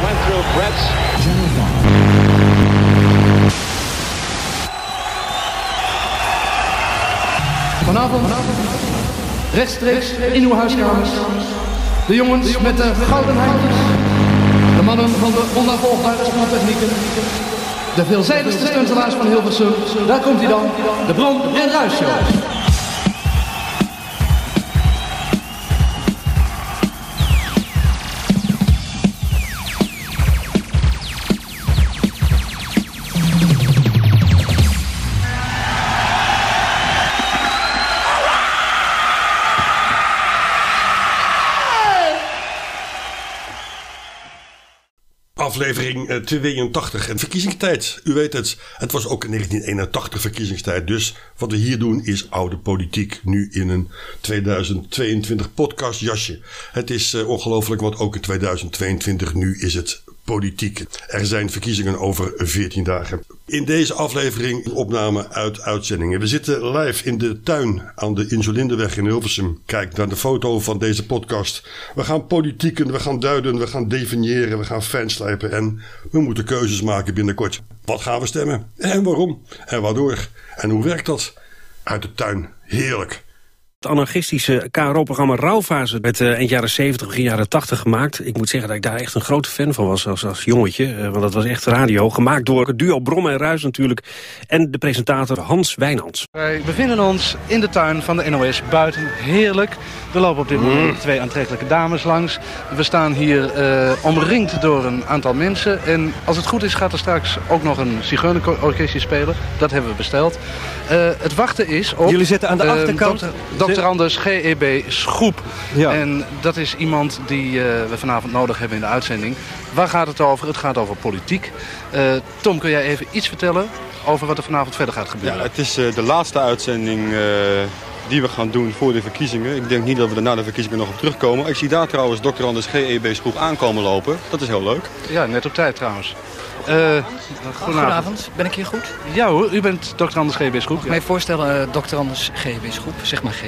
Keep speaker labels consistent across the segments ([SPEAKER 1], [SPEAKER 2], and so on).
[SPEAKER 1] Reds.
[SPEAKER 2] Vanavond, rechtstreeks in uw huiskamers, de jongens met de gouden handjes, de mannen van de onnavolgbare sporttechnieken, de veelzijdigste stuntelaars van Hilversum, daar komt hij dan, de Bron en Ruijs Show.
[SPEAKER 3] Aflevering eh, 82 en verkiezingstijd. U weet het, het was ook in 1981 verkiezingstijd. Dus wat we hier doen is oude politiek. Nu in een 2022 podcastjasje. Het is eh, ongelooflijk, want ook in 2022 nu is het politiek. Er zijn verkiezingen over 14 dagen. In deze aflevering een opname uit uitzendingen. We zitten live in de tuin aan de Insulindeweg in Hilversum. Kijk naar de foto van deze podcast. We gaan politieken, we gaan duiden, we gaan definiëren, we gaan fanslijpen en we moeten keuzes maken binnenkort. Wat gaan we stemmen? En waarom? En waardoor? En hoe werkt dat? Uit de tuin. Heerlijk.
[SPEAKER 4] Het anarchistische KRO-programma Rauwfase werd eh, eind jaren 70, begin jaren 80 gemaakt. Ik moet zeggen dat ik daar echt een grote fan van was als, als jongetje. eh, want dat was echt radio. Gemaakt door het duo Brom en Ruis natuurlijk. En de presentator Hans Wijnands.
[SPEAKER 2] Wij bevinden ons in de tuin van de NOS buiten. Heerlijk. Er lopen op dit
[SPEAKER 5] Mm.
[SPEAKER 2] moment twee aantrekkelijke dames langs. We staan hier eh, omringd door een aantal mensen. En als het goed is gaat er straks ook nog een zigeunerorkestje spelen. Dat hebben we besteld. Eh, het wachten is op...
[SPEAKER 5] Jullie zitten aan de
[SPEAKER 2] eh,
[SPEAKER 5] achterkant.
[SPEAKER 2] dokter- Dokter Anders GEB Schoep.
[SPEAKER 5] Ja.
[SPEAKER 2] En dat is iemand die eh, we vanavond nodig hebben in de uitzending. Waar gaat het over? Het gaat over politiek. Eh, Tom, kun jij even iets vertellen over wat er vanavond verder gaat gebeuren?
[SPEAKER 6] Ja, het is eh, de laatste uitzending eh, die we gaan doen voor de verkiezingen. Ik denk niet dat we er na de verkiezingen nog op terugkomen. Ik zie daar trouwens Dr. Anders GEB Schroef aankomen lopen. Dat is heel leuk.
[SPEAKER 2] Ja, net op tijd trouwens. Eh, goedenavond.
[SPEAKER 7] Goedenavond, ben ik hier goed?
[SPEAKER 2] Ja hoor, u bent dokter Anders G. Bisschop.
[SPEAKER 7] Mag
[SPEAKER 2] Ja.
[SPEAKER 7] ik mij voorstellen, eh dokter Anders G. Bisschop, zeg maar G.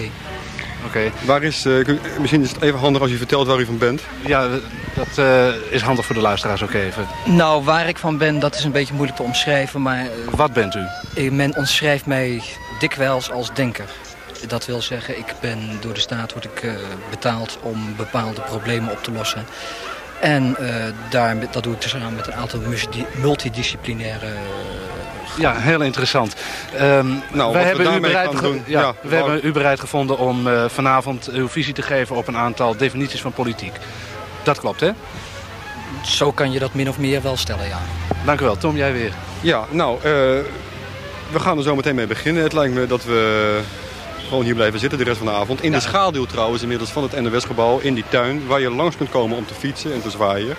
[SPEAKER 2] Oké.
[SPEAKER 6] Waar is, eh, kun- misschien is het even handig als u vertelt waar u van bent.
[SPEAKER 2] Ja, we- dat eh, is handig voor de luisteraars ook even.
[SPEAKER 7] Nou, waar ik van ben, dat is een beetje moeilijk te omschrijven, maar eh,
[SPEAKER 2] Wat bent u?
[SPEAKER 7] eh, men omschrijft mij dikwijls als denker. Dat wil zeggen, ik ben door de staat word ik, eh, betaald om bepaalde problemen op te lossen. En eh, daar, dat doe ik samen met een aantal eh, multi- multidisciplinaire...
[SPEAKER 2] Ja, heel interessant. Ehm,
[SPEAKER 6] Nou, wat we
[SPEAKER 2] wij hebben, u
[SPEAKER 6] daarmee
[SPEAKER 2] bereid,
[SPEAKER 6] gaan
[SPEAKER 2] ge-
[SPEAKER 6] doen,
[SPEAKER 2] ja,
[SPEAKER 6] ja,
[SPEAKER 2] we
[SPEAKER 6] wou-
[SPEAKER 2] hebben u bereid gevonden om eh, vanavond uw visie te geven op een aantal definities van politiek. Dat klopt, hè?
[SPEAKER 7] Zo kan je dat min of meer wel stellen, ja.
[SPEAKER 2] Dank u wel. Tom, jij weer.
[SPEAKER 6] Ja, nou, eh, we gaan er zo meteen mee beginnen. Het lijkt me dat we gewoon hier blijven zitten de rest van de avond. In de schaduw trouwens inmiddels van het NOS-gebouw, in die tuin... waar je langs kunt komen om te fietsen en te zwaaien.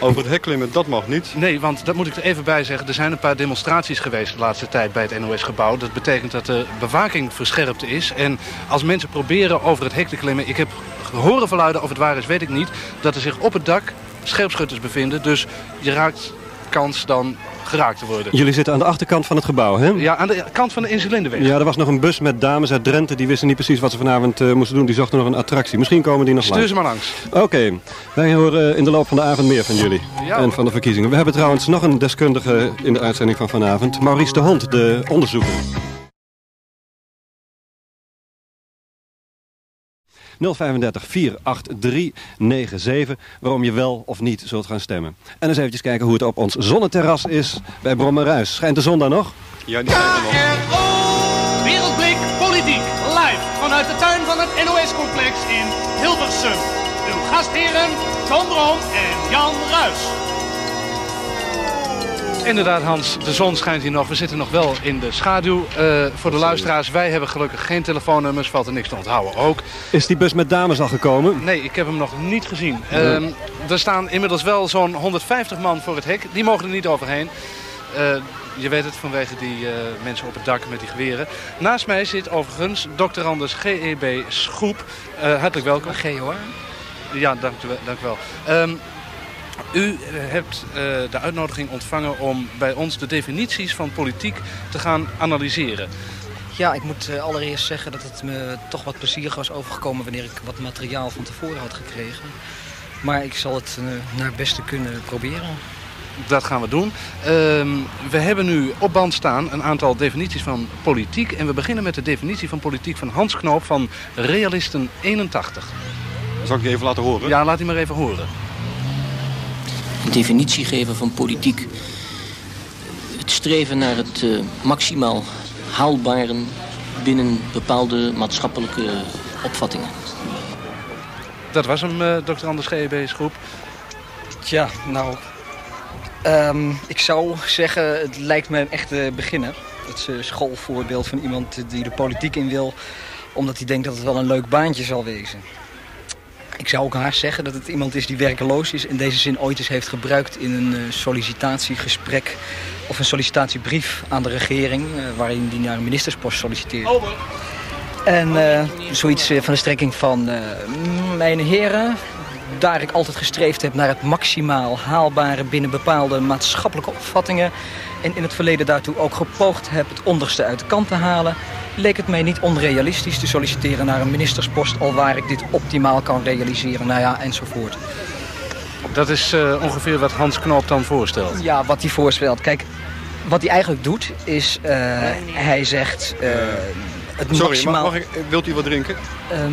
[SPEAKER 6] Over het hek klimmen, dat mag niet.
[SPEAKER 2] Nee, want dat moet ik er even bij zeggen. Er zijn een paar demonstraties geweest de laatste tijd bij het NOS-gebouw. Dat betekent dat de bewaking verscherpt is. En als mensen proberen over het hek te klimmen... Ik heb horen verluiden, of het waar is, weet ik niet... dat er zich op het dak scherpschutters bevinden. Dus je raakt kans dan geraakt te worden.
[SPEAKER 5] Jullie zitten aan de achterkant van het gebouw, hè?
[SPEAKER 2] Ja, aan de kant van de Insulindeweg.
[SPEAKER 5] Ja, er was nog een bus met dames uit Drenthe. Die wisten niet precies wat ze vanavond eh, moesten doen. Die zochten nog een attractie. Misschien komen die nog
[SPEAKER 2] Stuur
[SPEAKER 5] langs.
[SPEAKER 2] ze maar langs.
[SPEAKER 5] Oké, wij horen eh, in de loop van de avond meer van jullie.
[SPEAKER 2] Ja,
[SPEAKER 5] en
[SPEAKER 2] hoor.
[SPEAKER 5] van de verkiezingen. We hebben trouwens nog een deskundige in de uitzending van vanavond. Maurice de Hond, de onderzoeker. 035 483 97, waarom je wel of niet zult gaan stemmen. En eens eventjes kijken hoe het op ons zonneterras is bij Brommeruis. Schijnt de zon daar nog?
[SPEAKER 6] Ja, die zijn er nog.
[SPEAKER 8] Wereldblik Politiek, live vanuit de tuin van het NOS-complex in Hilversum. Uw gastheren Tom Brom en Jan Ruis.
[SPEAKER 2] Inderdaad, Hans, de zon schijnt hier nog. We zitten nog wel in de schaduw. Eh, voor de luisteraars, wij hebben gelukkig geen telefoonnummers. Valt er niks te onthouden ook.
[SPEAKER 5] Is die bus met dames al gekomen?
[SPEAKER 2] Nee, ik heb hem nog niet gezien. Ehm, er staan inmiddels wel zo'n 150 man voor het hek. Die mogen er niet overheen. Eh, je weet het vanwege die eh, mensen op het dak met die geweren. Naast mij zit overigens dokter Anders GEB Schoep. Eh, hartelijk welkom.
[SPEAKER 7] G hoor.
[SPEAKER 2] Ja, dank u wel. Dank u, wel. Ehm, u eh, hebt eh, de uitnodiging ontvangen om bij ons de definities van politiek te gaan analyseren.
[SPEAKER 7] Ja, ik moet eh, allereerst zeggen dat het me toch wat plezierig was overgekomen wanneer ik wat materiaal van tevoren had gekregen. Maar ik zal het eh, naar het beste kunnen proberen.
[SPEAKER 2] Dat gaan we doen. Ehm, we hebben nu op band staan een aantal definities van politiek. En we beginnen met de definitie van politiek van Hans Knoop van Realisten 81.
[SPEAKER 6] Zal ik je even laten horen?
[SPEAKER 2] Ja, laat die maar even horen.
[SPEAKER 1] een definitie geven van politiek. Het streven naar het eh, maximaal haalbare binnen bepaalde maatschappelijke opvattingen.
[SPEAKER 2] Dat was hem, eh dokter Anders GEB's groep.
[SPEAKER 7] Tja, nou. ehm, ik zou zeggen, het lijkt me een echte beginner. Het is een schoolvoorbeeld van iemand die de politiek in wil, omdat hij denkt dat het wel een leuk baantje zal wezen. Ik zou ook haar zeggen dat het iemand is die werkeloos is en deze zin ooit eens heeft gebruikt in een eh, sollicitatiegesprek of een sollicitatiebrief aan de regering, eh, waarin die naar een ministerspost solliciteert. En eh, zoiets eh, van de strekking van... eh, mijn heren, daar ik altijd gestreefd heb naar het maximaal haalbare... binnen bepaalde maatschappelijke opvattingen... en in het verleden daartoe ook gepoogd heb het onderste uit de kant te halen... leek het mij niet onrealistisch te solliciteren naar een ministerspost... alwaar ik dit optimaal kan realiseren, nou ja, enzovoort.
[SPEAKER 2] Dat is eh, ongeveer wat Hans Knoop dan voorstelt.
[SPEAKER 7] Ja, wat hij voorstelt. Kijk, wat hij eigenlijk doet is... eh, hij zegt... eh, het
[SPEAKER 6] Sorry,
[SPEAKER 7] maximaal...
[SPEAKER 6] mag, mag ik, wilt u wat drinken?
[SPEAKER 7] Ehm,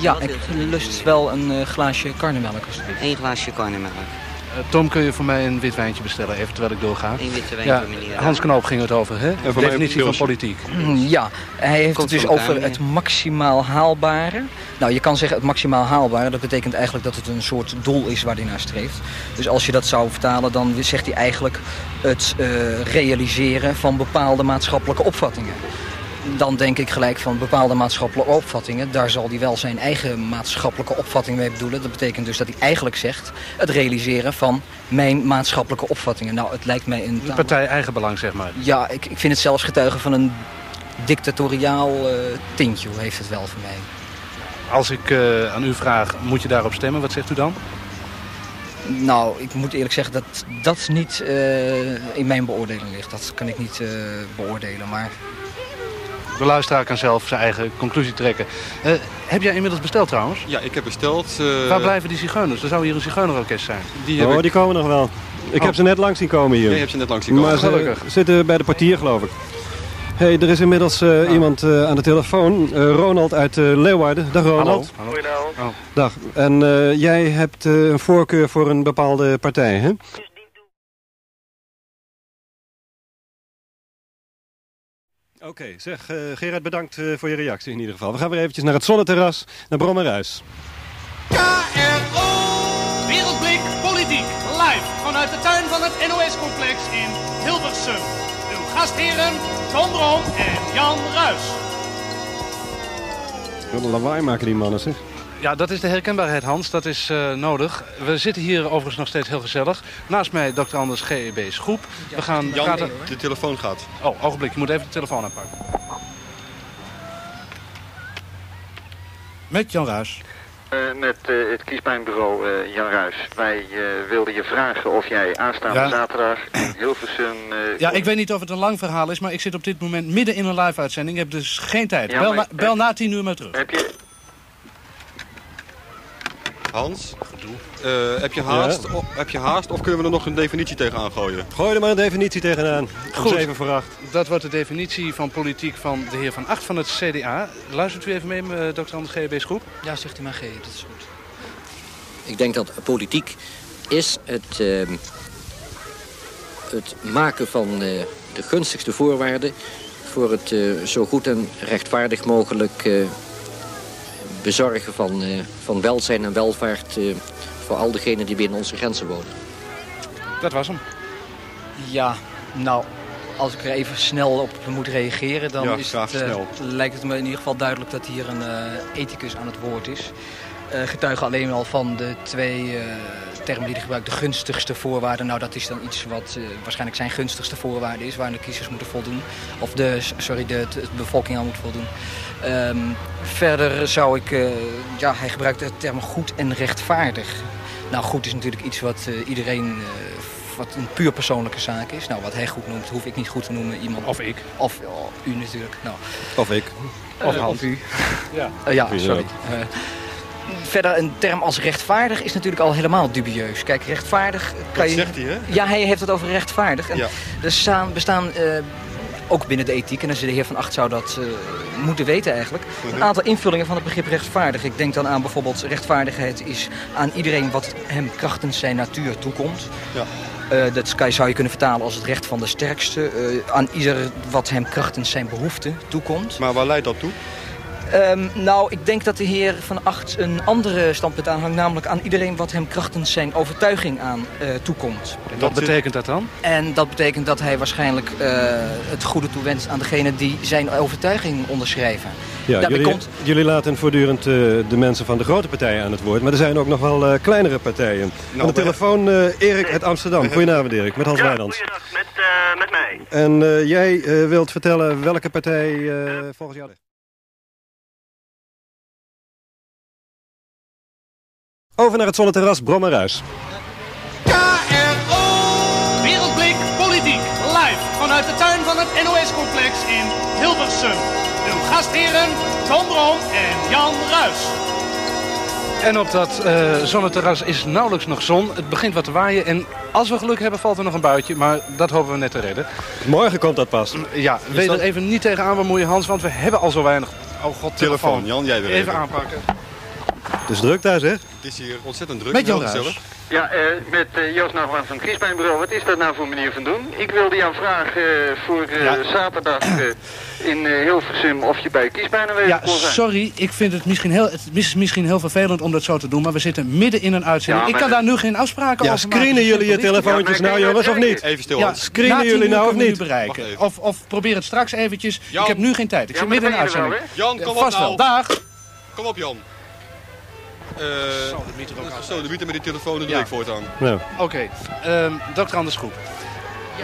[SPEAKER 7] ja, ik lust wel een eh, glaasje karnemelk alsjeblieft.
[SPEAKER 9] Eén glaasje karnemelk.
[SPEAKER 2] Eh, Tom, kun je voor mij een wit wijntje bestellen, even terwijl ik doorga?
[SPEAKER 9] Eén witte wijn
[SPEAKER 2] Ja,
[SPEAKER 9] voor meneer.
[SPEAKER 2] Hans Knoop ging het over, hè?
[SPEAKER 6] mij een
[SPEAKER 2] Definitie van
[SPEAKER 6] pilsje.
[SPEAKER 2] politiek.
[SPEAKER 7] Ja, hij heeft
[SPEAKER 9] Komt
[SPEAKER 7] het dus
[SPEAKER 9] van elkaar,
[SPEAKER 7] over het maximaal haalbare. Nou, je kan zeggen het maximaal haalbare. Dat betekent eigenlijk dat het een soort doel is waar hij naar streeft. Dus als je dat zou vertalen, dan zegt hij eigenlijk het eh, realiseren van bepaalde maatschappelijke opvattingen. Dan denk ik gelijk van bepaalde maatschappelijke opvattingen. Daar zal hij wel zijn eigen maatschappelijke opvatting mee bedoelen. Dat betekent dus dat hij eigenlijk zegt het realiseren van mijn maatschappelijke opvattingen. Nou, het lijkt mij een
[SPEAKER 2] De
[SPEAKER 7] tamelijk-
[SPEAKER 2] partij Eigenbelang, zeg maar.
[SPEAKER 7] ja, ik, ik vind het zelfs getuigen van een dictatoriaal eh, tintje, heeft het wel voor mij.
[SPEAKER 2] Als ik eh, aan u vraag, moet je daarop stemmen? Wat zegt u dan?
[SPEAKER 7] Nou, ik moet eerlijk zeggen dat dat niet eh, in mijn beoordeling ligt. Dat kan ik niet eh, beoordelen, maar
[SPEAKER 2] De luisteraar kan zelf zijn eigen conclusie trekken. Eh, heb jij inmiddels besteld trouwens?
[SPEAKER 6] Ja, ik heb besteld. eh,
[SPEAKER 2] Waar blijven die zigeuners? Er zou hier een zigeunerorkest zijn.
[SPEAKER 6] Die heb
[SPEAKER 5] oh,
[SPEAKER 6] ik,
[SPEAKER 5] die komen nog wel. Ik
[SPEAKER 2] Oh.
[SPEAKER 5] heb ze net langs zien komen hier.
[SPEAKER 6] die heb je net langs zien
[SPEAKER 5] maar
[SPEAKER 6] komen.
[SPEAKER 5] ze
[SPEAKER 2] Gelukkig.
[SPEAKER 5] zitten bij de portier, geloof ik. hey, er is inmiddels eh, iemand eh, aan de telefoon. Eh, Ronald uit eh, Leeuwarden. Dag, Ronald.
[SPEAKER 2] Hallo. Oh. Hallo.
[SPEAKER 10] Goedenavond.
[SPEAKER 5] Dag. En eh, jij hebt eh, een voorkeur voor een bepaalde partij, hè? Oké, zeg eh, Gerard, bedankt eh, voor je reactie in ieder geval. We gaan weer eventjes naar het zonneterras, naar Brommerhuis.
[SPEAKER 8] KRO. Wereldblik Politiek. Live vanuit de tuin van het NOS-complex in Hilversum. Uw gastheren Tom Brom en Jan Ruis.
[SPEAKER 5] Wat een lawaai maken die mannen, zeg.
[SPEAKER 2] Ja, dat is de herkenbaarheid, Hans. Dat is eh, nodig. We zitten hier overigens nog steeds heel gezellig. Naast mij dokter Anders GEB's groep. We gaan
[SPEAKER 6] Jan,
[SPEAKER 2] praten...
[SPEAKER 6] de telefoon gaat.
[SPEAKER 2] Oh, ogenblik. Je moet even de telefoon aanpakken. Met Jan Ruijs.
[SPEAKER 10] Eh, met eh, het kiespijnbureau eh, Jan Ruijs. Wij eh, wilden je vragen of jij aanstaande
[SPEAKER 2] Ja.
[SPEAKER 10] zaterdag in Hilversum... eh,
[SPEAKER 2] Ja, ik weet niet of het een lang verhaal is, maar ik zit op dit moment midden in een live uitzending. Ik heb dus geen tijd.
[SPEAKER 10] Ja,
[SPEAKER 2] bel,
[SPEAKER 10] maar-
[SPEAKER 2] na, bel na tien uur maar terug.
[SPEAKER 10] Heb je...
[SPEAKER 6] Hans, eh, heb, je haast, O- heb je haast of kunnen we er nog een definitie tegenaan gooien?
[SPEAKER 5] Gooi er maar een definitie tegenaan. Goed.
[SPEAKER 2] Goed.
[SPEAKER 5] 7 voor 8.
[SPEAKER 2] Dat wordt de definitie van politiek van de heer Van Acht van het CDA. Luistert u even mee, eh, dokter Anders GB's groep.
[SPEAKER 7] ja, zegt hij maar G, dat is goed.
[SPEAKER 1] Ik denk dat politiek is het, eh, het maken van eh, de gunstigste voorwaarden voor het eh, zo goed en rechtvaardig mogelijk eh, bezorgen van, eh, van welzijn en welvaart eh, voor al diegenen die binnen onze grenzen wonen.
[SPEAKER 2] Dat was hem.
[SPEAKER 7] Ja, nou, als ik er even snel op moet reageren, dan
[SPEAKER 6] Ja,
[SPEAKER 7] is
[SPEAKER 6] graag
[SPEAKER 7] het, eh,
[SPEAKER 6] snel.
[SPEAKER 7] lijkt het me in ieder geval duidelijk dat hier een eh, ethicus aan het woord is. Eh getuigen alleen al van de twee eh, termen die hij gebruikt, de gunstigste voorwaarden. Nou, dat is dan iets wat eh, waarschijnlijk zijn gunstigste voorwaarde is, waar de kiezers moeten voldoen. Of de, sorry, de, de bevolking aan moet voldoen. Ehm, verder zou ik, eh, ja, hij gebruikt de term goed en rechtvaardig. Nou, goed is natuurlijk iets wat eh, iedereen, eh, wat een puur persoonlijke zaak is. Nou, wat hij goed noemt, hoef ik niet goed te noemen. Iemand,
[SPEAKER 2] Of ik.
[SPEAKER 7] Of oh, u natuurlijk. Nou,
[SPEAKER 5] Of ik.
[SPEAKER 7] of, of u.
[SPEAKER 2] Ja.
[SPEAKER 7] Eh, ja,
[SPEAKER 5] Wie
[SPEAKER 7] sorry.
[SPEAKER 5] dan
[SPEAKER 7] Eh, verder een term als rechtvaardig is natuurlijk al helemaal dubieus. Kijk, rechtvaardig kan
[SPEAKER 6] Dat
[SPEAKER 7] je...
[SPEAKER 6] zegt hij, hè?
[SPEAKER 7] Ja, hij heeft het over rechtvaardig. En
[SPEAKER 6] Ja.
[SPEAKER 7] Er staan, bestaan, eh, ook binnen de ethiek, en als de heer Van Acht zou dat eh, moeten weten eigenlijk,
[SPEAKER 6] Mhm.
[SPEAKER 7] een aantal invullingen van het begrip rechtvaardig. Ik denk dan aan bijvoorbeeld rechtvaardigheid is aan iedereen wat hem krachtens zijn natuur toekomt.
[SPEAKER 6] Ja.
[SPEAKER 7] Eh, dat kan- zou je kunnen vertalen als het recht van de sterkste. eh, aan ieder wat hem krachtens zijn behoeften toekomt.
[SPEAKER 6] Maar waar leidt dat toe?
[SPEAKER 7] Ehm, nou, ik denk dat de heer Van Acht een andere standpunt aanhangt. Namelijk aan iedereen wat hem krachtens zijn overtuiging aan eh, toekomt.
[SPEAKER 2] En
[SPEAKER 6] Dat
[SPEAKER 2] wat
[SPEAKER 6] zit-
[SPEAKER 2] betekent dat dan?
[SPEAKER 7] En dat betekent dat hij waarschijnlijk eh, het goede toewenst aan degene die zijn overtuiging onderschrijven.
[SPEAKER 5] Ja,
[SPEAKER 7] Daarbij
[SPEAKER 5] jullie,
[SPEAKER 7] komt-
[SPEAKER 5] jullie laten voortdurend eh, de mensen van de grote partijen aan het woord. Maar er zijn ook nog wel eh, kleinere
[SPEAKER 9] Nou,
[SPEAKER 5] partijen. aan de
[SPEAKER 6] we-
[SPEAKER 5] telefoon eh, Erik uit Amsterdam. Goedenavond Erik, met Hans Wijnands.
[SPEAKER 9] goeiedag, met, eh, met mij.
[SPEAKER 5] En eh, jij eh, wilt vertellen welke partij eh, volgens jou... Over naar het zonneterras Brommerhuis.
[SPEAKER 8] KRO Wereldblik Politiek live vanuit de tuin van het NOS-complex in Hilversum. Uw gastheren Tom Brom en Jan Ruis.
[SPEAKER 2] En op dat eh zonneterras is nauwelijks nog zon. Het begint wat te waaien en als we geluk hebben valt er nog een buitje. Maar dat hopen we net te redden.
[SPEAKER 5] Morgen komt dat pas.
[SPEAKER 2] Ja, wil je
[SPEAKER 5] dat-
[SPEAKER 2] er even niet tegenaan bemoeien Hans, want we hebben al zo weinig... Oh god, telefoon.
[SPEAKER 6] Telefoon, Jan, jij weer
[SPEAKER 2] Even
[SPEAKER 6] even.
[SPEAKER 2] aanpakken.
[SPEAKER 5] Dus druk daar zeg.
[SPEAKER 6] Het is hier ontzettend druk.
[SPEAKER 2] Met Jan
[SPEAKER 6] Heel
[SPEAKER 2] Ruijs.
[SPEAKER 6] gezellig.
[SPEAKER 10] Ja, eh, met eh, Jos Nachtman van het Kiespijnbureau. Wat is dat nou voor manier van doen? Ik wilde jou vragen eh, voor eh, zaterdag eh, in eh, Hilversum of je bij Kiespijn aanwezig
[SPEAKER 2] Ja,
[SPEAKER 10] kon zijn.
[SPEAKER 2] sorry, ik vind het misschien heel, het is misschien heel vervelend om dat zo te doen, maar we zitten midden in een uitzending.
[SPEAKER 10] Ja,
[SPEAKER 2] ik
[SPEAKER 10] maar
[SPEAKER 2] kan
[SPEAKER 10] dat-
[SPEAKER 2] daar nu geen afspraken
[SPEAKER 5] Ja,
[SPEAKER 2] over maken.
[SPEAKER 5] screenen jullie je
[SPEAKER 2] Simpel is het.
[SPEAKER 5] telefoontjes
[SPEAKER 10] Ja, maar
[SPEAKER 5] nou
[SPEAKER 10] ik weet
[SPEAKER 5] jongens of
[SPEAKER 10] het
[SPEAKER 5] niet?
[SPEAKER 6] Even stil.
[SPEAKER 2] Ja,
[SPEAKER 6] Hans.
[SPEAKER 5] Screenen
[SPEAKER 2] na tien
[SPEAKER 5] jullie
[SPEAKER 2] uur
[SPEAKER 5] nou of
[SPEAKER 2] kunnen we
[SPEAKER 5] niet?
[SPEAKER 2] nu
[SPEAKER 6] Wacht
[SPEAKER 2] bereiken.
[SPEAKER 6] even.
[SPEAKER 2] Of, of probeer het straks eventjes.
[SPEAKER 6] Jan.
[SPEAKER 2] Ik heb nu geen tijd. Ik
[SPEAKER 10] Ja,
[SPEAKER 2] zit
[SPEAKER 10] maar
[SPEAKER 2] midden in een
[SPEAKER 10] dan ben je er
[SPEAKER 2] uitzending.
[SPEAKER 10] wel,
[SPEAKER 6] Jan, kom
[SPEAKER 2] Ja,
[SPEAKER 6] op
[SPEAKER 2] vast
[SPEAKER 6] nou.
[SPEAKER 2] wel. Dag.
[SPEAKER 6] Kom op, Jan. Eh,
[SPEAKER 10] Oh,
[SPEAKER 6] zo, de mieter met die telefoon, dat
[SPEAKER 2] Ja.
[SPEAKER 6] doe ik voortaan.
[SPEAKER 5] Nou,
[SPEAKER 2] Oké, ehm, dokter Anders Groep.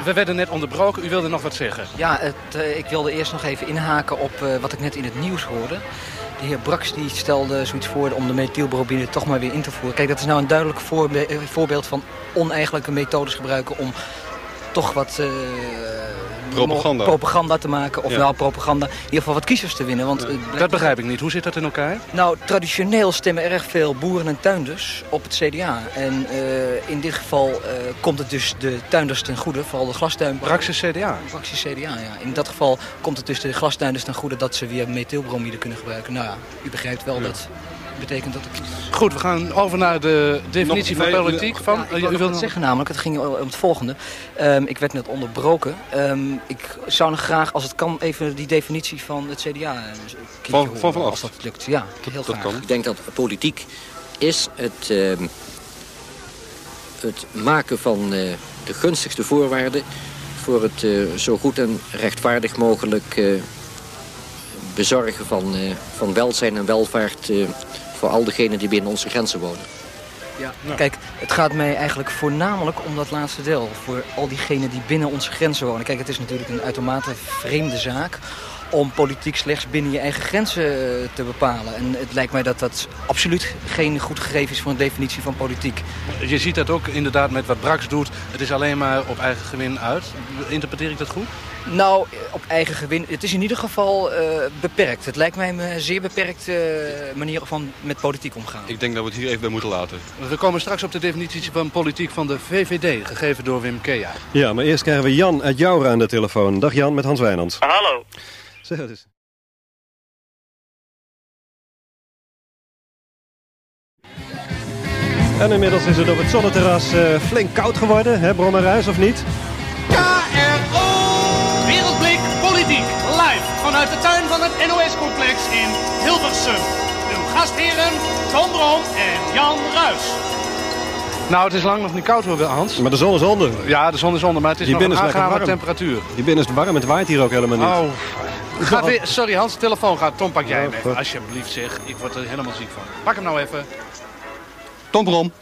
[SPEAKER 2] We werden net onderbroken. U wilde nog wat zeggen.
[SPEAKER 7] Ja, het, eh, ik wilde eerst nog even inhaken op eh, wat ik net in het nieuws hoorde. De heer Brax die stelde zoiets voor om de methylbromide toch maar weer in te voeren. Kijk, dat is nou een duidelijk voorbe- eh, voorbeeld van oneigenlijke methodes gebruiken om toch wat... eh,
[SPEAKER 6] Propaganda.
[SPEAKER 7] mo- propaganda te maken, of
[SPEAKER 6] Ja.
[SPEAKER 7] nou propaganda, in ieder geval wat kiezers te winnen. Want, eh,
[SPEAKER 2] Dat begrijp ik niet. Hoe zit dat in elkaar?
[SPEAKER 7] nou, traditioneel stemmen erg veel boeren en tuinders op het CDA. En eh, in dit geval eh, komt het dus de tuinders ten goede, vooral de glastuin.
[SPEAKER 2] Braxe CDA.
[SPEAKER 7] Fractie CDA, ja. In dat geval komt het dus de glastuinders ten goede dat ze weer methylbromide kunnen gebruiken. Nou ja, u begrijpt wel dat. Betekent dat het...
[SPEAKER 2] Goed, we gaan over naar de definitie
[SPEAKER 6] Nog-
[SPEAKER 2] van
[SPEAKER 6] nee,
[SPEAKER 2] politiek. Van,
[SPEAKER 7] Ja,
[SPEAKER 2] eh, u
[SPEAKER 7] ik wilde
[SPEAKER 2] wilde
[SPEAKER 7] nog wat
[SPEAKER 2] nog-
[SPEAKER 7] zeggen namelijk, het ging om het volgende. Ehm, ik werd net onderbroken. Ehm, ik zou nog graag, als het kan, even die definitie van het CDA... eh, een keertje
[SPEAKER 6] Van-
[SPEAKER 7] horen,
[SPEAKER 6] van Van Acht.
[SPEAKER 7] Als dat lukt, ja. Heel
[SPEAKER 6] Dat
[SPEAKER 7] graag.
[SPEAKER 6] kan.
[SPEAKER 1] Ik denk dat politiek is het, ehm, het maken van eh, de gunstigste voorwaarden voor het eh, zo goed en rechtvaardig mogelijk eh, bezorgen van, eh, van welzijn en welvaart eh, voor al degenen die binnen onze grenzen wonen.
[SPEAKER 7] Ja. Kijk, het gaat mij eigenlijk voornamelijk om dat laatste deel. Voor al diegenen die binnen onze grenzen wonen. Kijk, het is natuurlijk een uitermate vreemde zaak om politiek slechts binnen je eigen grenzen eh, te bepalen. En het lijkt mij dat dat absoluut geen goed gegeven is voor een definitie van politiek.
[SPEAKER 2] Je ziet dat ook inderdaad met wat Brax doet. Het is alleen maar op eigen gewin uit. Interpreteer ik dat goed?
[SPEAKER 7] Nou, eh, op eigen gewin. Het is in ieder geval eh, beperkt. Het lijkt mij een zeer beperkte eh, manier van met politiek omgaan.
[SPEAKER 6] Ik denk dat we het hier even bij moeten laten.
[SPEAKER 2] We komen straks op de definitie van politiek van de VVD, gegeven door Wim Kea.
[SPEAKER 5] ja, maar eerst krijgen we Jan uit Jouren aan de telefoon. Dag Jan, met Hans Wijnands.
[SPEAKER 9] Hallo.
[SPEAKER 5] Zeg het eens. En inmiddels is het op het zonneterras eh, flink koud geworden, hè Brommerhuis of niet?
[SPEAKER 8] KRO Wereldblik Politiek live vanuit de tuin van het NOS-complex in Hilversum. Uw gastheren Tom Brom en Jan Ruis.
[SPEAKER 2] Nou, het is lang nog niet koud hoor, Hans.
[SPEAKER 5] Maar de zon is onder.
[SPEAKER 2] Ja, de zon is onder, maar het is
[SPEAKER 5] Hier
[SPEAKER 2] nog een
[SPEAKER 5] binnen is lekker
[SPEAKER 2] aangename
[SPEAKER 5] warm.
[SPEAKER 2] temperatuur.
[SPEAKER 5] Hier binnen is het warm, het waait hier ook helemaal niet.
[SPEAKER 2] Oh. Gaat weer, sorry Hans, de telefoon gaat. Tom, pak jij hem even.
[SPEAKER 5] goed.
[SPEAKER 2] Alsjeblieft zeg, ik word er helemaal ziek van. Pak hem nou even.
[SPEAKER 6] Tom Brom.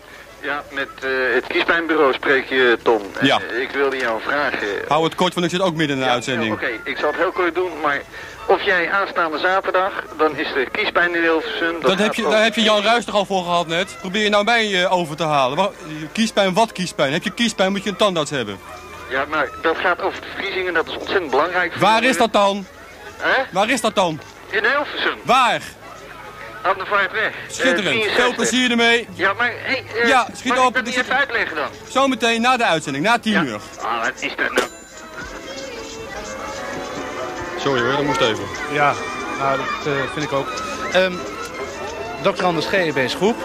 [SPEAKER 10] Ja, met eh, het Kiespijnbureau spreek je, Tom. En,
[SPEAKER 6] Ja.
[SPEAKER 10] eh, ik wilde jou vragen...
[SPEAKER 6] Hou het kort, want ik zit ook midden in de
[SPEAKER 10] Ja,
[SPEAKER 6] uitzending.
[SPEAKER 10] Oké, ik zal het heel kort doen, maar of jij aanstaande zaterdag, dan is de kiespijn in Hilversum.
[SPEAKER 6] Dat heb je, daar heb je Jan Ruijs toch al voor gehad net. Probeer je nou mij eh, over te halen. Wa- Kiespijn, wat kiespijn? Heb je kiespijn, moet je een tandarts hebben.
[SPEAKER 10] Ja, maar dat gaat over de verkiezingen, dat is ontzettend belangrijk. voor
[SPEAKER 6] Waar
[SPEAKER 10] jullie.
[SPEAKER 6] is dat dan?
[SPEAKER 10] Hè?
[SPEAKER 6] Waar is dat dan?
[SPEAKER 10] In Hilversum.
[SPEAKER 6] Waar?
[SPEAKER 10] Had de vaart weg. Eh,
[SPEAKER 9] Schitterend.
[SPEAKER 10] 63.
[SPEAKER 9] Veel plezier ermee.
[SPEAKER 10] Ja, maar hey, eh,
[SPEAKER 9] Ja, schiet
[SPEAKER 10] mag ik
[SPEAKER 9] op,
[SPEAKER 10] dat
[SPEAKER 9] er
[SPEAKER 10] niet
[SPEAKER 9] zit-
[SPEAKER 10] even uitleggen dan?
[SPEAKER 9] Zometeen na de uitzending, na 10 uur.
[SPEAKER 10] Ah, wat is dat nou?
[SPEAKER 6] Sorry hoor, dat moest even.
[SPEAKER 2] Ja, nou, dat eh, vind ik ook. Ehm Dr. Anders E GEB's groep.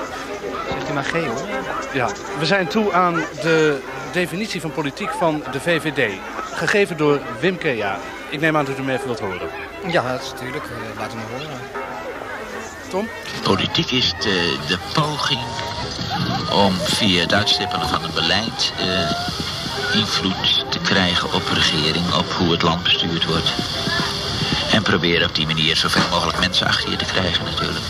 [SPEAKER 7] Zegt u maar G hoor.
[SPEAKER 2] Ja, we zijn toe aan de definitie van politiek van de VVD. Gegeven door Wim Kea. Ik neem aan dat u hem even wilt horen.
[SPEAKER 7] Ja, dat is natuurlijk. eh, laat hem maar horen.
[SPEAKER 11] Politiek is de, de poging om via het uitstippelen van een beleid eh, invloed te krijgen op regering, op hoe het land bestuurd wordt. En proberen op die manier zoveel mogelijk mensen achter je te krijgen natuurlijk.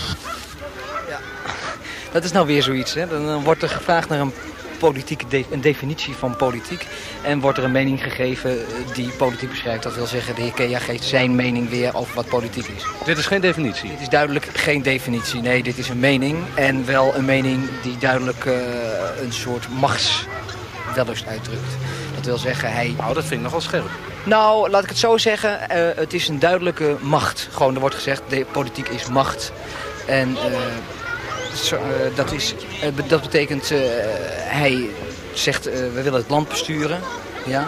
[SPEAKER 7] Dat is nou weer zoiets. Hè? Dan, dan wordt er gevraagd naar een, politieke de- een definitie van politiek. En wordt er een mening gegeven eh, die politiek beschrijft. Dat wil zeggen, de heer Kea geeft zijn mening weer over wat politiek is.
[SPEAKER 2] Dit is geen definitie.
[SPEAKER 7] Dit is duidelijk geen definitie. Nee, dit is een mening. En wel een mening die duidelijk eh, een soort machtswellust uitdrukt. Dat wil zeggen, hij
[SPEAKER 2] Nou, dat vind ik nogal scherp.
[SPEAKER 7] nou, laat ik het zo zeggen. eh, het is een duidelijke macht. Gewoon, er wordt gezegd, de politiek is macht. En eh, zo- eh, dat, is, eh, be- dat betekent, eh, hij zegt, eh, we willen het land besturen. Ja?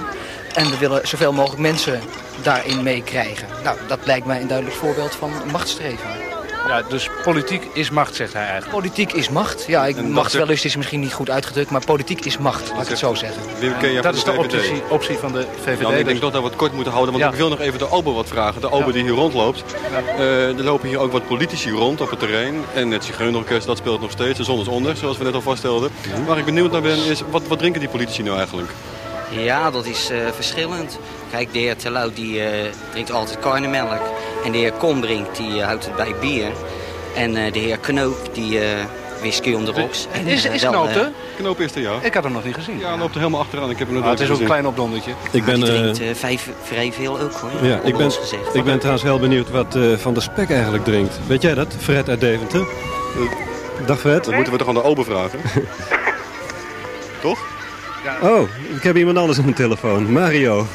[SPEAKER 7] En we willen zoveel mogelijk mensen daarin meekrijgen. Nou, dat lijkt mij een duidelijk voorbeeld van machtsstreven.
[SPEAKER 2] Ja, dus politiek is macht, zegt hij eigenlijk.
[SPEAKER 7] Politiek is macht. Ja, ik,
[SPEAKER 6] En dat
[SPEAKER 7] machtswellust is misschien niet goed uitgedrukt, maar politiek is macht, laat ik het zo zeggen.
[SPEAKER 6] Wim Kea
[SPEAKER 2] Dat is
[SPEAKER 6] van
[SPEAKER 2] de
[SPEAKER 6] de VVD.
[SPEAKER 2] optie, optie van de
[SPEAKER 6] Jan, ik denk
[SPEAKER 2] VVD.
[SPEAKER 6] toch dat we het kort moeten houden, want
[SPEAKER 2] Ja.
[SPEAKER 6] ik wil nog even de Albo wat vragen. De Albo
[SPEAKER 2] Ja.
[SPEAKER 6] die hier rondloopt. Eh, er lopen hier ook wat politici rond op het terrein. En het Zigeunerorkest, dat speelt nog steeds. De zon is onder, zoals we net al vaststelden. Waar ik benieuwd naar ben, is wat, wat drinken die politici nou eigenlijk?
[SPEAKER 12] Ja, dat is eh, verschillend. Kijk, de heer Terlouw die eh, drinkt altijd karnemelk. En de heer Kombrink die eh, houdt het bij bier. En eh, de heer Knoop die eh, whisky on the rocks. En,
[SPEAKER 2] Is,
[SPEAKER 12] eh,
[SPEAKER 2] is
[SPEAKER 12] dan,
[SPEAKER 2] Knoop,
[SPEAKER 12] eh,
[SPEAKER 2] hè?
[SPEAKER 6] Knoop is er, ja.
[SPEAKER 2] Ik had hem nog niet gezien.
[SPEAKER 6] Ja, loopt er helemaal achteraan. Ik heb hem nog
[SPEAKER 2] Maar Ah, het
[SPEAKER 6] nooit
[SPEAKER 2] is ook een
[SPEAKER 6] gezien.
[SPEAKER 2] klein opdondertje.
[SPEAKER 5] Ik
[SPEAKER 12] die
[SPEAKER 5] ben, eh,
[SPEAKER 12] drinkt eh, vijf, vrij veel ook hoor.
[SPEAKER 5] ja, ik
[SPEAKER 12] onder
[SPEAKER 5] ben,
[SPEAKER 12] ons gezegd.
[SPEAKER 5] ik ben trouwens heel benieuwd wat eh, Van der Spek eigenlijk drinkt. Weet jij dat, Fred uit Deventer? Dag Fred.
[SPEAKER 6] Dat moeten we toch aan de Albo vragen? toch?
[SPEAKER 5] Oh, ik heb iemand anders aan de telefoon. Mario.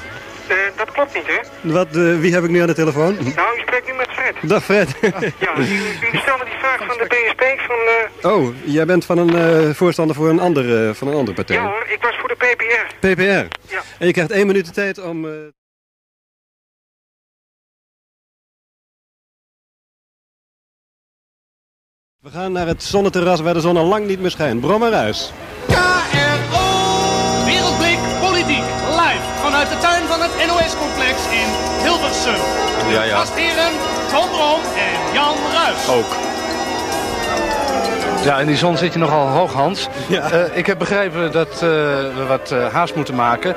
[SPEAKER 10] Eh, dat klopt niet, hè?
[SPEAKER 5] Wat, eh, wie heb ik nu aan de telefoon?
[SPEAKER 10] Nou, u spreekt nu met Fred.
[SPEAKER 5] Dag Fred.
[SPEAKER 10] Ja, u, u stelde die vraag van de PSP van... eh,
[SPEAKER 5] Oh, jij bent van een eh, voorstander voor een andere, van een andere partij.
[SPEAKER 10] ja hoor, ik was voor de PPR.
[SPEAKER 5] PPR.
[SPEAKER 10] Ja.
[SPEAKER 5] En je krijgt één minuut de tijd om... eh, We gaan naar het zonneterras waar de zon al lang niet meer schijnt. Brommerhuis.
[SPEAKER 8] KRO. Wereldblik Politiek. Live vanuit de tuin van het NOS-complex in Hilversum.
[SPEAKER 6] Ja, ja.
[SPEAKER 8] Gastheren Tom Room en Jan Ruijs.
[SPEAKER 6] Ook.
[SPEAKER 2] Ja, in die zon zit je nogal hoog, Hans.
[SPEAKER 5] Ja.
[SPEAKER 2] Eh, ik heb begrepen dat eh, we wat eh, haast moeten maken.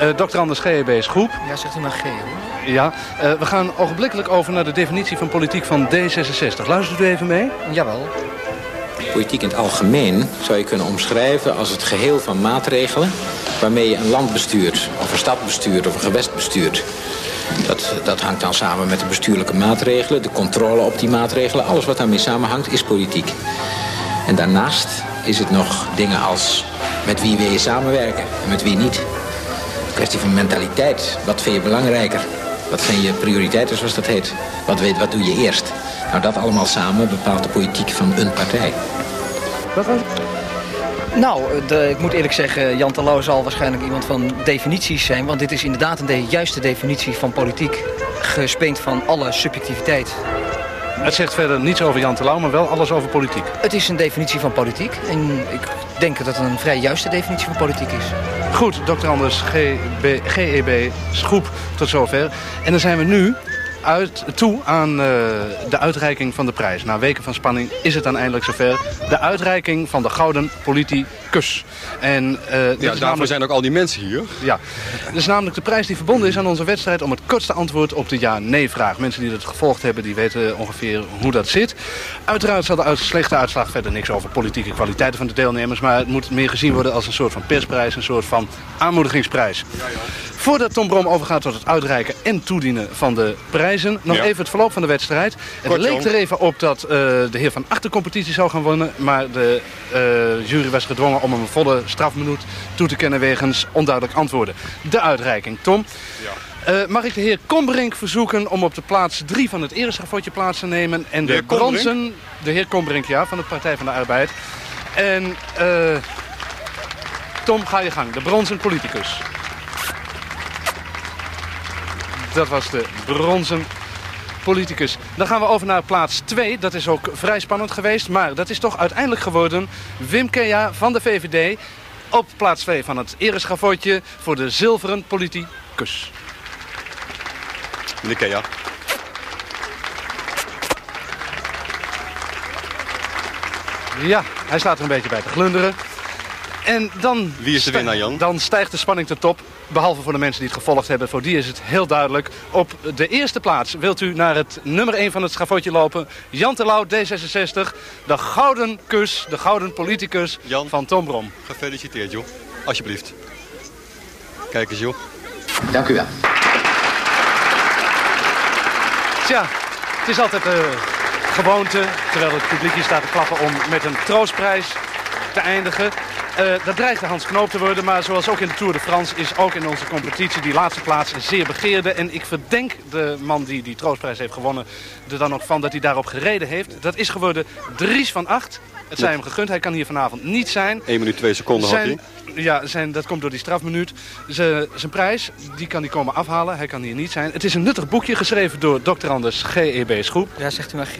[SPEAKER 2] Eh Dr. Anders GEB's groep.
[SPEAKER 7] Ja, zegt u maar G hoor.
[SPEAKER 2] Ja. Eh, we gaan ogenblikkelijk over naar de definitie van politiek van D66. Luistert u even mee?
[SPEAKER 7] Jawel.
[SPEAKER 1] Politiek in het algemeen zou je kunnen omschrijven als het geheel van maatregelen waarmee je een land bestuurt, of een stad bestuurt, of een gewest bestuurt. Dat, dat hangt dan samen met de bestuurlijke maatregelen, de controle op die maatregelen. Alles wat daarmee samenhangt is politiek. En daarnaast is het nog dingen als met wie wil je samenwerken en met wie niet. Een kwestie van mentaliteit. Wat vind je belangrijker? Wat zijn je prioriteiten, zoals dat heet? Wat, weet, wat doe je eerst? Nou, dat allemaal samen bepaalt de politiek van een partij.
[SPEAKER 7] Nou, de- ik moet eerlijk zeggen, Jan Terlouw zal waarschijnlijk iemand van definities zijn. Want dit is inderdaad een de juiste definitie van politiek. Gespeend van alle subjectiviteit.
[SPEAKER 2] Het zegt verder niets over Jan Terlouw, maar wel alles over politiek.
[SPEAKER 7] Het is een definitie van politiek. En ik denk dat het een vrij juiste definitie van politiek is.
[SPEAKER 2] Goed, Dr. Anders GB, GEB's groep E tot zover. En dan zijn we nu uit, toe aan eh, de uitreiking van de prijs. Na weken van spanning is het dan eindelijk zover. De uitreiking van de Gouden Politicus. En, eh, dit
[SPEAKER 6] Ja,
[SPEAKER 2] is
[SPEAKER 6] daarvoor
[SPEAKER 2] namelijk-
[SPEAKER 6] zijn ook al die mensen hier.
[SPEAKER 2] Ja, dat is namelijk de prijs die verbonden is aan onze wedstrijd om het kortste antwoord op de ja-nee-vraag. Mensen die dat gevolgd hebben, die weten ongeveer hoe dat zit. Uiteraard zal de uit- slechte uitslag verder niks over politieke kwaliteiten van de deelnemers, maar het moet meer gezien worden als een soort van persprijs, een soort van aanmoedigingsprijs. Voordat Tom Brom overgaat tot het uitreiken en toedienen van de prijzen, nog
[SPEAKER 6] Ja.
[SPEAKER 2] even het verloop van de wedstrijd. Het
[SPEAKER 6] Kort,
[SPEAKER 2] leek
[SPEAKER 6] Jan.
[SPEAKER 2] er even op dat eh, de heer van Achter competitie zou gaan winnen, maar de eh, jury was gedwongen om om een volle strafminuut toe te kennen wegens onduidelijk antwoorden. De uitreiking, Tom.
[SPEAKER 6] Ja.
[SPEAKER 2] Eh, mag ik de heer Kombrink verzoeken om op de plaats 3 van het ereschafotje plaats te nemen... en
[SPEAKER 6] De
[SPEAKER 2] de,
[SPEAKER 6] heer Kombrink?
[SPEAKER 2] bronzen... De heer Kombrink, ja, van de Partij van de Arbeid. En eh, Tom, ga je gang. De bronzen politicus. Dat was de bronzen politicus. Dan gaan we over naar plaats 2. Dat is ook vrij spannend geweest. Maar dat is toch uiteindelijk geworden Wim Kea van de VVD... op plaats 2 van het ereschafotje voor de zilveren politicus.
[SPEAKER 6] Meneer Kea.
[SPEAKER 2] Ja, hij staat er een beetje bij te glunderen. En dan... Wie is de winnaar, Jan? Dan stijgt de spanning ten top. Behalve voor de mensen die het gevolgd hebben. Voor die is het heel duidelijk. Op de eerste plaats wilt u naar het nummer 1 van het schafotje lopen. Jan Terlouw, D66. De gouden kus, de gouden politicus van Tom Brom.
[SPEAKER 6] Gefeliciteerd, joh. Alsjeblieft. Kijk eens, joh.
[SPEAKER 11] Dank u wel.
[SPEAKER 2] Tja, het is altijd de gewoonte, terwijl het publiek hier staat te klappen, om met een troostprijs te eindigen. Eh, dat dreigt de Hans Knoop te worden, maar zoals ook in de Tour de France is ook in onze competitie die laatste plaats zeer begeerde. En ik verdenk de man die die troostprijs heeft gewonnen er dan ook van dat hij daarop gereden heeft. Dat is geworden Dries van Acht. Het zijn hem gegund, hij kan hier vanavond niet zijn.
[SPEAKER 6] 1 minuut 2 seconden had
[SPEAKER 2] Zijn,
[SPEAKER 6] hij.
[SPEAKER 2] ja, zijn, dat komt door die strafminuut. Ze- zijn prijs, die kan hij komen afhalen. Hij kan hier niet zijn. Het is een nuttig boekje geschreven door Dr. Anders G.E.B. Schroep.
[SPEAKER 7] Ja, zegt u maar G.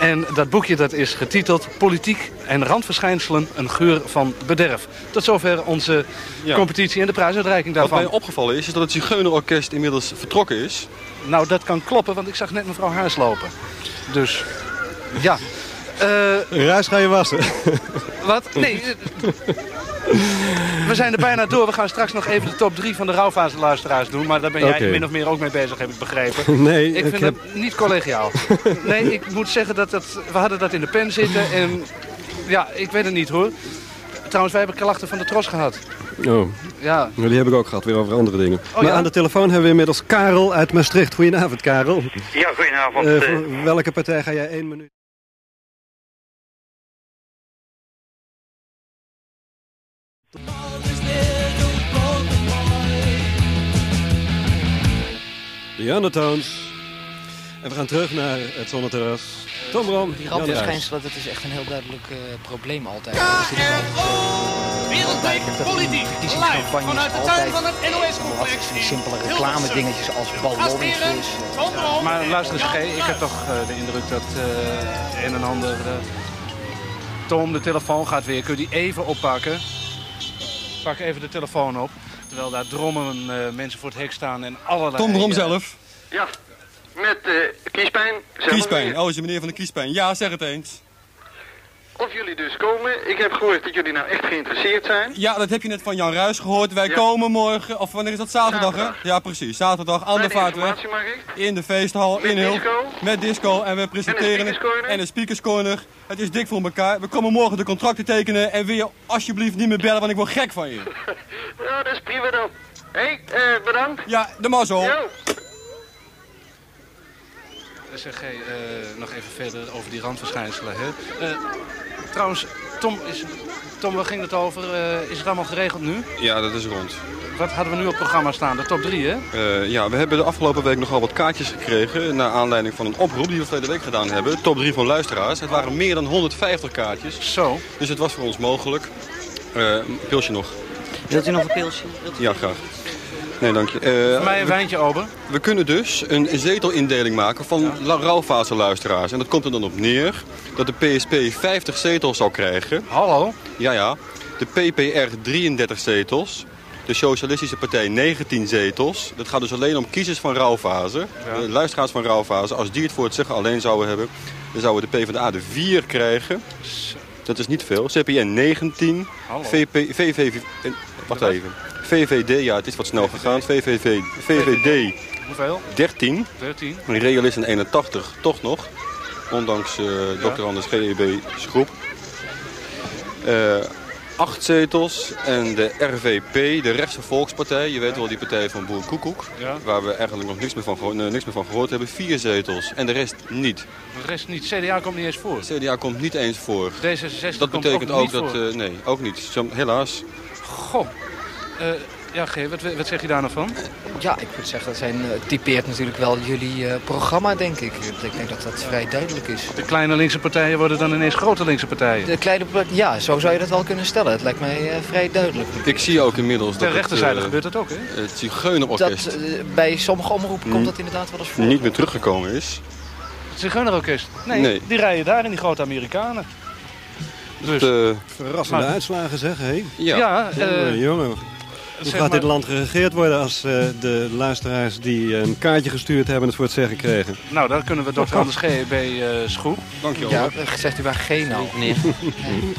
[SPEAKER 2] En dat boekje dat is getiteld Politiek en randverschijnselen, een geur van bederf. Tot zover onze
[SPEAKER 6] Ja.
[SPEAKER 2] competitie en de prijsuitreiking
[SPEAKER 6] Wat
[SPEAKER 2] daarvan.
[SPEAKER 6] mij opgevallen is, is dat het Zigeunerorkest inmiddels vertrokken is.
[SPEAKER 2] Nou, dat kan kloppen, want ik zag net mevrouw Haars lopen. Dus, ja. Eh,
[SPEAKER 5] Ruis ga je wassen.
[SPEAKER 2] Wat? Nee. eh, We zijn er bijna door. We gaan straks nog even de top 3 van de rouwfase luisteraars doen. Maar daar ben jij
[SPEAKER 5] Oké.
[SPEAKER 2] min of meer ook mee bezig, heb ik begrepen.
[SPEAKER 5] Nee,
[SPEAKER 2] ik
[SPEAKER 5] ik
[SPEAKER 2] vind
[SPEAKER 5] heb-
[SPEAKER 2] het niet collegiaal. Nee, ik moet zeggen dat, dat we hadden dat in de pen zitten. En ja, ik weet het niet hoor. Trouwens, wij hebben klachten van de tros gehad.
[SPEAKER 5] Oh.
[SPEAKER 2] Ja.
[SPEAKER 5] Nou, die heb ik ook gehad, weer over andere dingen. maar
[SPEAKER 2] ja?
[SPEAKER 5] aan de telefoon hebben we inmiddels Karel uit Maastricht. Goedenavond, Karel.
[SPEAKER 13] Ja, goedenavond.
[SPEAKER 5] Eh,
[SPEAKER 13] eh.
[SPEAKER 5] voor welke partij ga jij één minuut? De Undertones. En we gaan terug naar het zonneterras. Tom Brom,
[SPEAKER 8] Die
[SPEAKER 5] Jan Ruijs.
[SPEAKER 14] Randverschijnselen, dat is echt een heel duidelijk eh, probleem altijd.
[SPEAKER 8] Wereldwijd politiek. Live vanuit de tuin van het NOS-complex. in
[SPEAKER 14] Simpele
[SPEAKER 8] Hilversum.
[SPEAKER 14] reclame dingetjes als
[SPEAKER 8] Gastheren,
[SPEAKER 14] ballonnetjes.
[SPEAKER 7] eh.
[SPEAKER 8] Tom Brom
[SPEAKER 2] Maar
[SPEAKER 8] en
[SPEAKER 2] luister eens, G,
[SPEAKER 8] Jan
[SPEAKER 2] ik heb toch eh, de indruk dat eh, het een en ander... eh, Tom, de telefoon gaat weer. Kun je die even oppakken? Pak even de telefoon op. Terwijl daar drommen eh, mensen voor het hek staan en allerlei...
[SPEAKER 6] Tom Brom
[SPEAKER 2] eh,
[SPEAKER 6] zelf.
[SPEAKER 10] Ja, met eh, kiespijn. zelf
[SPEAKER 6] Kiespijn. Oh, is je meneer van de kiespijn. Ja, zeg het eens.
[SPEAKER 10] Of jullie dus komen. Ik heb gehoord dat jullie nou echt geïnteresseerd zijn.
[SPEAKER 6] Ja, dat heb je net van Jan Ruijs gehoord. Wij
[SPEAKER 10] Ja.
[SPEAKER 6] komen morgen, of wanneer is dat? Zaterdag,
[SPEAKER 10] Zaterdag.
[SPEAKER 6] hè? Ja, precies. Zaterdag aan de vaartweg.
[SPEAKER 10] Informatie mag ik?
[SPEAKER 6] In de feesthal,
[SPEAKER 10] Met
[SPEAKER 6] in Hulp.
[SPEAKER 10] disco.
[SPEAKER 6] Met disco. En we presenteren het. En een speakerscorner. Het is dik voor elkaar. We komen morgen de contracten tekenen. En wil je alsjeblieft niet meer bellen, want ik word gek van je.
[SPEAKER 10] Ja, dat is prima dan. Hé, hey, eh, bedankt.
[SPEAKER 6] Ja, de mazzel.
[SPEAKER 10] Jo.
[SPEAKER 2] Zeg, G, eh, nog even verder over die randverschijnselen. Hè? Eh, trouwens, Tom, is, Tom, waar ging het over? Eh, is het allemaal geregeld nu?
[SPEAKER 6] Ja, dat is rond.
[SPEAKER 2] Wat hadden we nu op het programma staan? De top 3, hè?
[SPEAKER 6] Eh, ja, we hebben de afgelopen week nogal wat kaartjes gekregen. Naar aanleiding van een oproep die we verleden week gedaan hebben. Top 3 van luisteraars. Het waren meer dan 150 kaartjes.
[SPEAKER 2] Zo.
[SPEAKER 6] Dus het was voor ons mogelijk. Eh, een pilsje nog.
[SPEAKER 12] Wilt u nog een pilsje? Wilt u-
[SPEAKER 6] Ja, graag. Nee, dank je. Eh,
[SPEAKER 2] Voor mij een
[SPEAKER 6] we-
[SPEAKER 2] wijntje open.
[SPEAKER 6] We kunnen dus een zetelindeling maken van la- rouwfase luisteraars. En dat komt er dan op neer dat de PSP 50 zetels zou krijgen.
[SPEAKER 2] Hallo?
[SPEAKER 6] Ja, ja. De PPR 33 zetels. De Socialistische Partij 19 zetels. Dat gaat dus alleen om kiezers van rouwfase.
[SPEAKER 2] Ja.
[SPEAKER 6] De luisteraars van rouwfase. Als die het voor het zeggen alleen zouden hebben, dan zouden de PvdA de 4 krijgen. Dat is niet veel. CPN 19.
[SPEAKER 2] Hallo.
[SPEAKER 6] VP, VVV... eh, Wacht even. VVD, ja, het is wat snel gegaan. VVV, VVD
[SPEAKER 2] Hoeveel?
[SPEAKER 6] 13.
[SPEAKER 2] 13.
[SPEAKER 6] Een realist in 81, toch nog. Ondanks eh,
[SPEAKER 2] Ja.
[SPEAKER 6] Dr. Anders GEB Schroep. Eh, acht zetels. En de RVP, de rechtse volkspartij, je weet wel die partij van Boer Koekoek.
[SPEAKER 2] Ja.
[SPEAKER 6] Waar we eigenlijk nog niks meer, van geho- eh, niks meer van gehoord hebben. Vier zetels en de rest niet.
[SPEAKER 2] De rest niet. CDA komt niet eens voor.
[SPEAKER 6] CDA komt niet eens voor.
[SPEAKER 2] D66
[SPEAKER 6] dat
[SPEAKER 2] komt
[SPEAKER 6] betekent
[SPEAKER 2] ook
[SPEAKER 6] ook,
[SPEAKER 2] niet
[SPEAKER 6] dat...
[SPEAKER 2] voor.
[SPEAKER 6] eh, nee, ook niet. Zo- Helaas.
[SPEAKER 2] Goh. Eh, ja, G, wat, wat zeg je daar nou van?
[SPEAKER 7] Ja, ik moet zeggen, dat zijn, eh, typeert natuurlijk wel jullie eh, programma, denk ik. Ik denk dat dat vrij duidelijk is.
[SPEAKER 2] De kleine linkse partijen worden dan ineens grote linkse partijen.
[SPEAKER 7] De kleine plek, ja, zo zou je dat wel kunnen stellen. Het lijkt mij eh, vrij duidelijk.
[SPEAKER 6] Ik zie ook inmiddels dat
[SPEAKER 2] Ter
[SPEAKER 6] het,
[SPEAKER 2] rechterzijde
[SPEAKER 6] eh,
[SPEAKER 2] gebeurt dat ook, hè?
[SPEAKER 6] Het
[SPEAKER 7] Dat,
[SPEAKER 6] Zigeunerorkest
[SPEAKER 7] eh, bij sommige omroepen
[SPEAKER 6] Mm.
[SPEAKER 7] komt dat inderdaad wel eens voor.
[SPEAKER 6] niet meer teruggekomen is.
[SPEAKER 2] Het Zigeunerorkest. Nee,
[SPEAKER 6] Nee.
[SPEAKER 2] die rijden daar in die grote Amerikanen. Dus.
[SPEAKER 6] Eh,
[SPEAKER 5] Verrassende
[SPEAKER 2] Maar-
[SPEAKER 5] uitslagen zeg, hé.
[SPEAKER 2] Ja. Ja,
[SPEAKER 5] jongen,
[SPEAKER 2] eh,
[SPEAKER 5] jongen. Hoe
[SPEAKER 2] zeg
[SPEAKER 5] gaat
[SPEAKER 2] maar-
[SPEAKER 5] dit land geregeerd worden als eh, de luisteraars die eh, een kaartje gestuurd hebben het voor het zeggen kregen?
[SPEAKER 2] Nou, daar kunnen we dokter Anders G. bij eh, Schoep.
[SPEAKER 6] Dankjewel.
[SPEAKER 7] Ja, eh, gezegd u maar geen al.
[SPEAKER 12] Nee.
[SPEAKER 2] nou?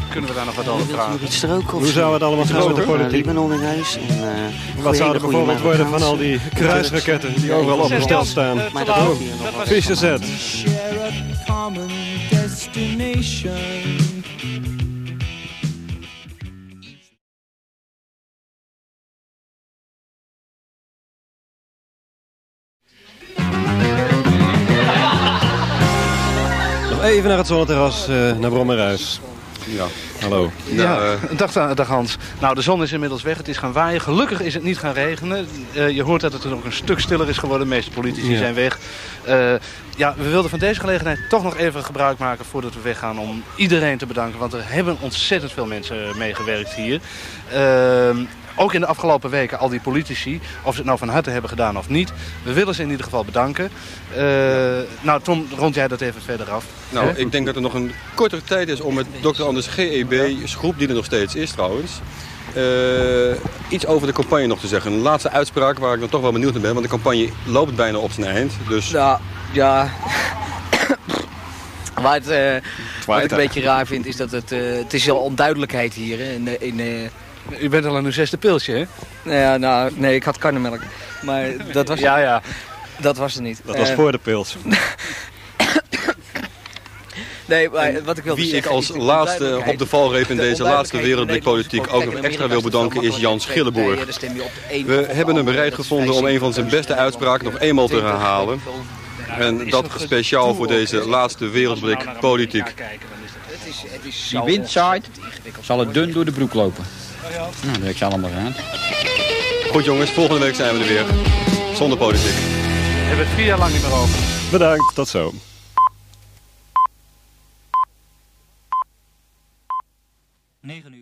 [SPEAKER 2] Kunnen we daar nog wat over
[SPEAKER 12] Wilt u nog
[SPEAKER 2] vragen?
[SPEAKER 12] iets stroken?
[SPEAKER 5] Hoe zou het allemaal gaan met de politiek?
[SPEAKER 12] Libanon in huis. En, eh,
[SPEAKER 5] Wat zou
[SPEAKER 12] hele
[SPEAKER 5] er
[SPEAKER 12] goede
[SPEAKER 5] bijvoorbeeld worden van al
[SPEAKER 12] Amerikaanse
[SPEAKER 5] die kruisraketten die overal
[SPEAKER 12] Ja, ik-
[SPEAKER 5] opgesteld staan?
[SPEAKER 12] Eh, Maar dat ook hier nog wel.
[SPEAKER 5] Visserzet.
[SPEAKER 10] share a common destination.
[SPEAKER 5] Nog even naar het zonneterras, eh naar Brommerhuis.
[SPEAKER 6] Ja.
[SPEAKER 5] Hallo.
[SPEAKER 2] Ja, dag, eh, dag Hans. Nou, de zon is inmiddels weg. Het is gaan waaien. Gelukkig is het niet gaan regenen. Eh, je hoort dat het er nog een stuk stiller is geworden. De meeste politici
[SPEAKER 5] Ja.
[SPEAKER 2] zijn weg. Eh, ja, we wilden van deze gelegenheid toch nog even gebruik maken voordat we weggaan om iedereen te bedanken. Want er hebben ontzettend veel mensen meegewerkt hier. Ehm, ook in de afgelopen weken al die politici, of ze het nou van harte hebben gedaan of niet. We willen ze in ieder geval bedanken. Eh, Nou, Tom, rond jij dat even verder af.
[SPEAKER 6] Nou,
[SPEAKER 2] Hè?
[SPEAKER 6] ik denk dat er nog een kortere tijd is om met dokter Anders GEB, groep die er nog steeds is trouwens, eh, iets over de campagne nog te zeggen. Een laatste uitspraak waar ik dan toch wel benieuwd naar ben, want de campagne loopt bijna op zijn eind. Dus
[SPEAKER 7] Ja, ja. Waar het, eh, wat ik
[SPEAKER 6] hè?
[SPEAKER 7] een beetje raar vind is dat het, eh, het is wel onduidelijkheid hier. hè, In, eh, in, eh,
[SPEAKER 2] U bent al aan uw zesde pilsje, hè?
[SPEAKER 7] Nou ja, nou, nee, ik had karnemelk. Maar dat was
[SPEAKER 2] Ah, Ja, ja.
[SPEAKER 7] Dat was er niet.
[SPEAKER 5] Dat was
[SPEAKER 7] Eh,
[SPEAKER 5] voor de pils.
[SPEAKER 7] Nee, maar wat ik wilde
[SPEAKER 6] wie ik
[SPEAKER 7] zeggen
[SPEAKER 6] als
[SPEAKER 7] is
[SPEAKER 6] laatste
[SPEAKER 7] onduidelijkheid-
[SPEAKER 6] op de valreep in
[SPEAKER 7] de
[SPEAKER 6] deze laatste
[SPEAKER 7] onduidelijkheid
[SPEAKER 6] wereldblik
[SPEAKER 7] in de Nederlandse
[SPEAKER 6] politiek ook nog
[SPEAKER 7] politiek.
[SPEAKER 6] extra
[SPEAKER 7] En
[SPEAKER 6] wil
[SPEAKER 7] in Amerika
[SPEAKER 6] bedanken
[SPEAKER 7] is
[SPEAKER 6] is
[SPEAKER 7] het
[SPEAKER 6] Jan
[SPEAKER 7] makkelijk met twee
[SPEAKER 6] Schillenborg.
[SPEAKER 7] partijen, dan stem je op de een of
[SPEAKER 6] We
[SPEAKER 7] op de
[SPEAKER 6] hebben hem
[SPEAKER 7] andere.
[SPEAKER 6] bereid
[SPEAKER 7] Dat is
[SPEAKER 6] gevonden om
[SPEAKER 7] vrij
[SPEAKER 6] een van zijn beste uitspraken nog eenmaal te herhalen. En dat speciaal voor deze laatste
[SPEAKER 7] nou
[SPEAKER 6] wereldblik politiek.
[SPEAKER 7] Het is, het is
[SPEAKER 15] Die
[SPEAKER 7] zo
[SPEAKER 15] wind zaait,
[SPEAKER 7] ontzettend ingewikkeld. Oh
[SPEAKER 15] zal het dun door de broek lopen. Nou, dat heb je allemaal gedaan.
[SPEAKER 6] Goed jongens, volgende week zijn we er weer. Zonder politiek.
[SPEAKER 2] We hebben het vier jaar lang niet meer over.
[SPEAKER 5] Bedankt, tot zo.
[SPEAKER 10] Negen uur.